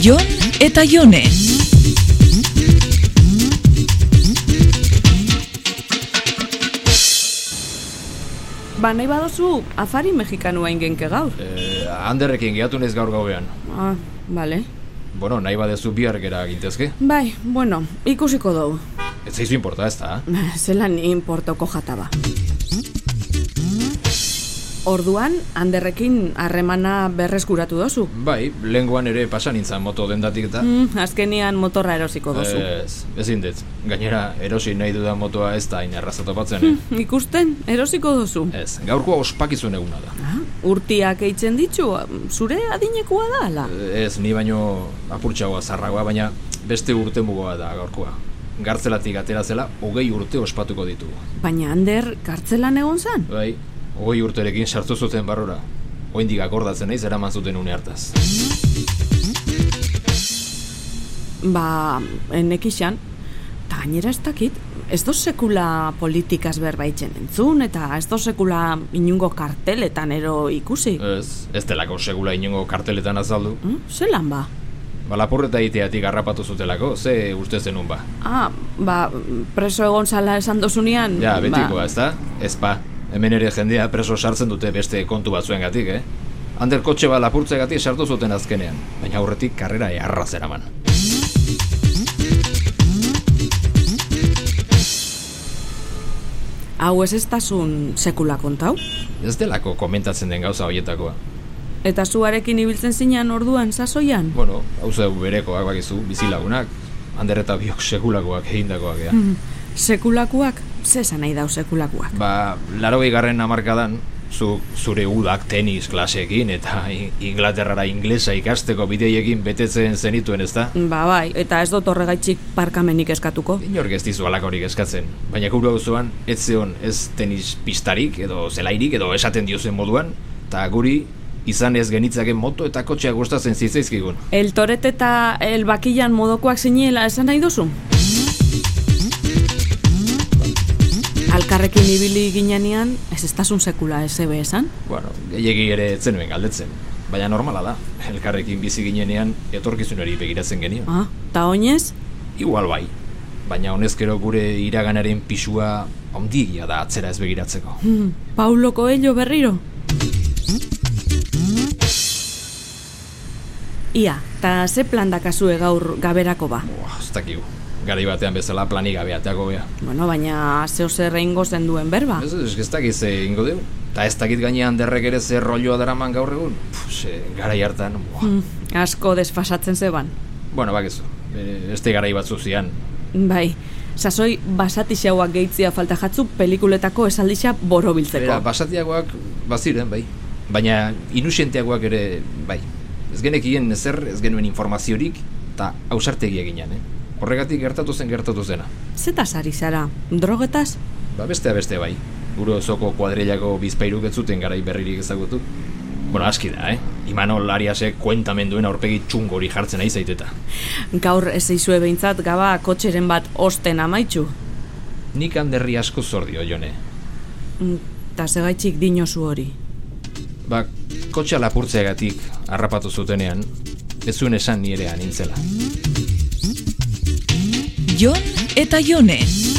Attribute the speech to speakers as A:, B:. A: Jon eta Jone.
B: Ba, nahi badozu, afari mexikanoa ingenke gaur.
C: Eh, Anderrekin gehatu naiz gaur gauean.
B: Ah, bale.
C: Bueno, nahi badezu bihar gera gintezke.
B: Bai, bueno, ikusiko dugu.
C: Ez zaizu inporta, ez da?
B: Zelan ba. importoko jataba. Orduan, handerrekin harremana berreskuratu dozu.
C: Bai, lenguan ere pasan nintzen moto dendatik eta...
B: Mm, azkenian motorra erosiko dozu.
C: Ez, ezin dut. Gainera, erosi nahi dudan motoa ez da hain erraza
B: Mm.
C: topatzen.
B: Ikusten, erosiko dozu.
C: eh? Ez, gaurkoa ospakizun eguna da.
B: Ah, Urtiak eitzen ditu, zure adinekoa da, ala?
C: Ez, ni baino apurtxagoa zarragoa, baina beste urte mugoa da gaurkoa. Gartzelatik atera zela, hogei urte ospatuko ditugu.
B: Baina Ander kartzelan egon zan?
C: Bai, hogei urterekin sartu zuten barrura. Oindik akordatzen naiz eraman zuten une hartaz.
B: Ba, enek izan. Ta gainera ez dakit, ez do sekula politikaz berbaitzen entzun, eta ez do sekula inungo karteletan ero ikusi.
C: Ez, ez delako segula inongo karteletan azaldu.
B: Hm? Zelan ba?
C: Balapurreta iteatik harrapatu zutelako, ze uste zenun ba.
B: Ah, ba, preso egon zala esan dozunean...
C: Ja,
B: Ba,
C: betikoa, ez da? Ez pa. Hemen ere jendea preso sartzen dute beste kontu batzuengatik, eh? Ander kotxe bat lapurtzegatik sartu zuten azkenean, baina aurretik karrera eharra zeraman.
B: hau ez ez sekula kontau?
C: Ez delako komentatzen den gauza hoietakoa.
B: Eta zuarekin ibiltzen zinan orduan sasoian?
C: Bueno, hau zeu berekoak bakizu, bizilagunak, Ander eta biok sekulakoak egindakoak, ja.
B: Hmm, Sekulakoak, zesa nahi dau sekulakoak.
C: Ba, laro garren hamarkadan, zu, zure udak tenis klasekin eta I- Inglaterrara inglesa ikasteko bideiekin betetzen zenituen ez da?
B: Ba bai, eta ez dut horregaitxik parkamenik eskatuko.
C: Inork ez dizu alakorik eskatzen, baina gure auzoan ez zeon ez tenis pistarik edo zelairik edo esaten diozen moduan, eta guri izan ez genitzaken moto eta kotxea gustatzen zitzaizkigun.
B: El toret eta el bakillan modokoak zinela esan nahi duzu? Alkarrekin ibili ginean, ez estasun sekula SB esan?
C: Bueno, gehiegi ere ez zenuen galdetzen, baina normala da, elkarrekin bizi ginenean etorkizunari begiratzen genion.
B: Ah, ta oinez?
C: Igual bai, baina honezkero gure iraganaren pisua ondigia da atzera ez begiratzeko.
B: Hmm, Paulo Coelho berriro? Ia, ta ze plan dakazue gaur gaberako ba?
C: Boa, ez dakigu. Garai batean bezala planik gabeateako bea.
B: Bueno, baina zeo zer egingo zen duen berba.
C: Ez, ez, ez dakit ze ingo deu. Ta ez dakit gainean derrek ere zer rolloa daraman gaur egun. Puh, ze, garai hartan, boa.
B: Hmm, asko desfasatzen zeban.
C: Bueno, bakizu, e, este garai batzu zian.
B: Bai, sasoi basatixauak gehitzia falta jatzu pelikuletako esaldixa borobiltzeko.
C: Bera, basatiagoak baziren, bai. Baina inusienteagoak ere, bai. Ez genekien ezer, ez genuen informaziorik, eta ausartegia ginen, eh? Horregatik gertatu zen gertatu zena.
B: Zetaz ari zara, drogetaz?
C: Ba bestea beste bai. Gure osoko kuadrillako bizpairuk ez zuten garai berririk ezagutu. Bueno, aski da, eh? Imanol Ariasek kuentamenduen aurpegi txungo hori jartzen ari zaiteta.
B: Gaur ez izue behintzat gaba kotxeren bat osten amaitxu.
C: Nik handerri asko zor dio, jone.
B: Mm, Ta segaitxik dinozu hori.
C: Ba, kotxa lapurtzeagatik harrapatu zutenean, ez zuen esan nire anintzela.
A: Jon eta Jone.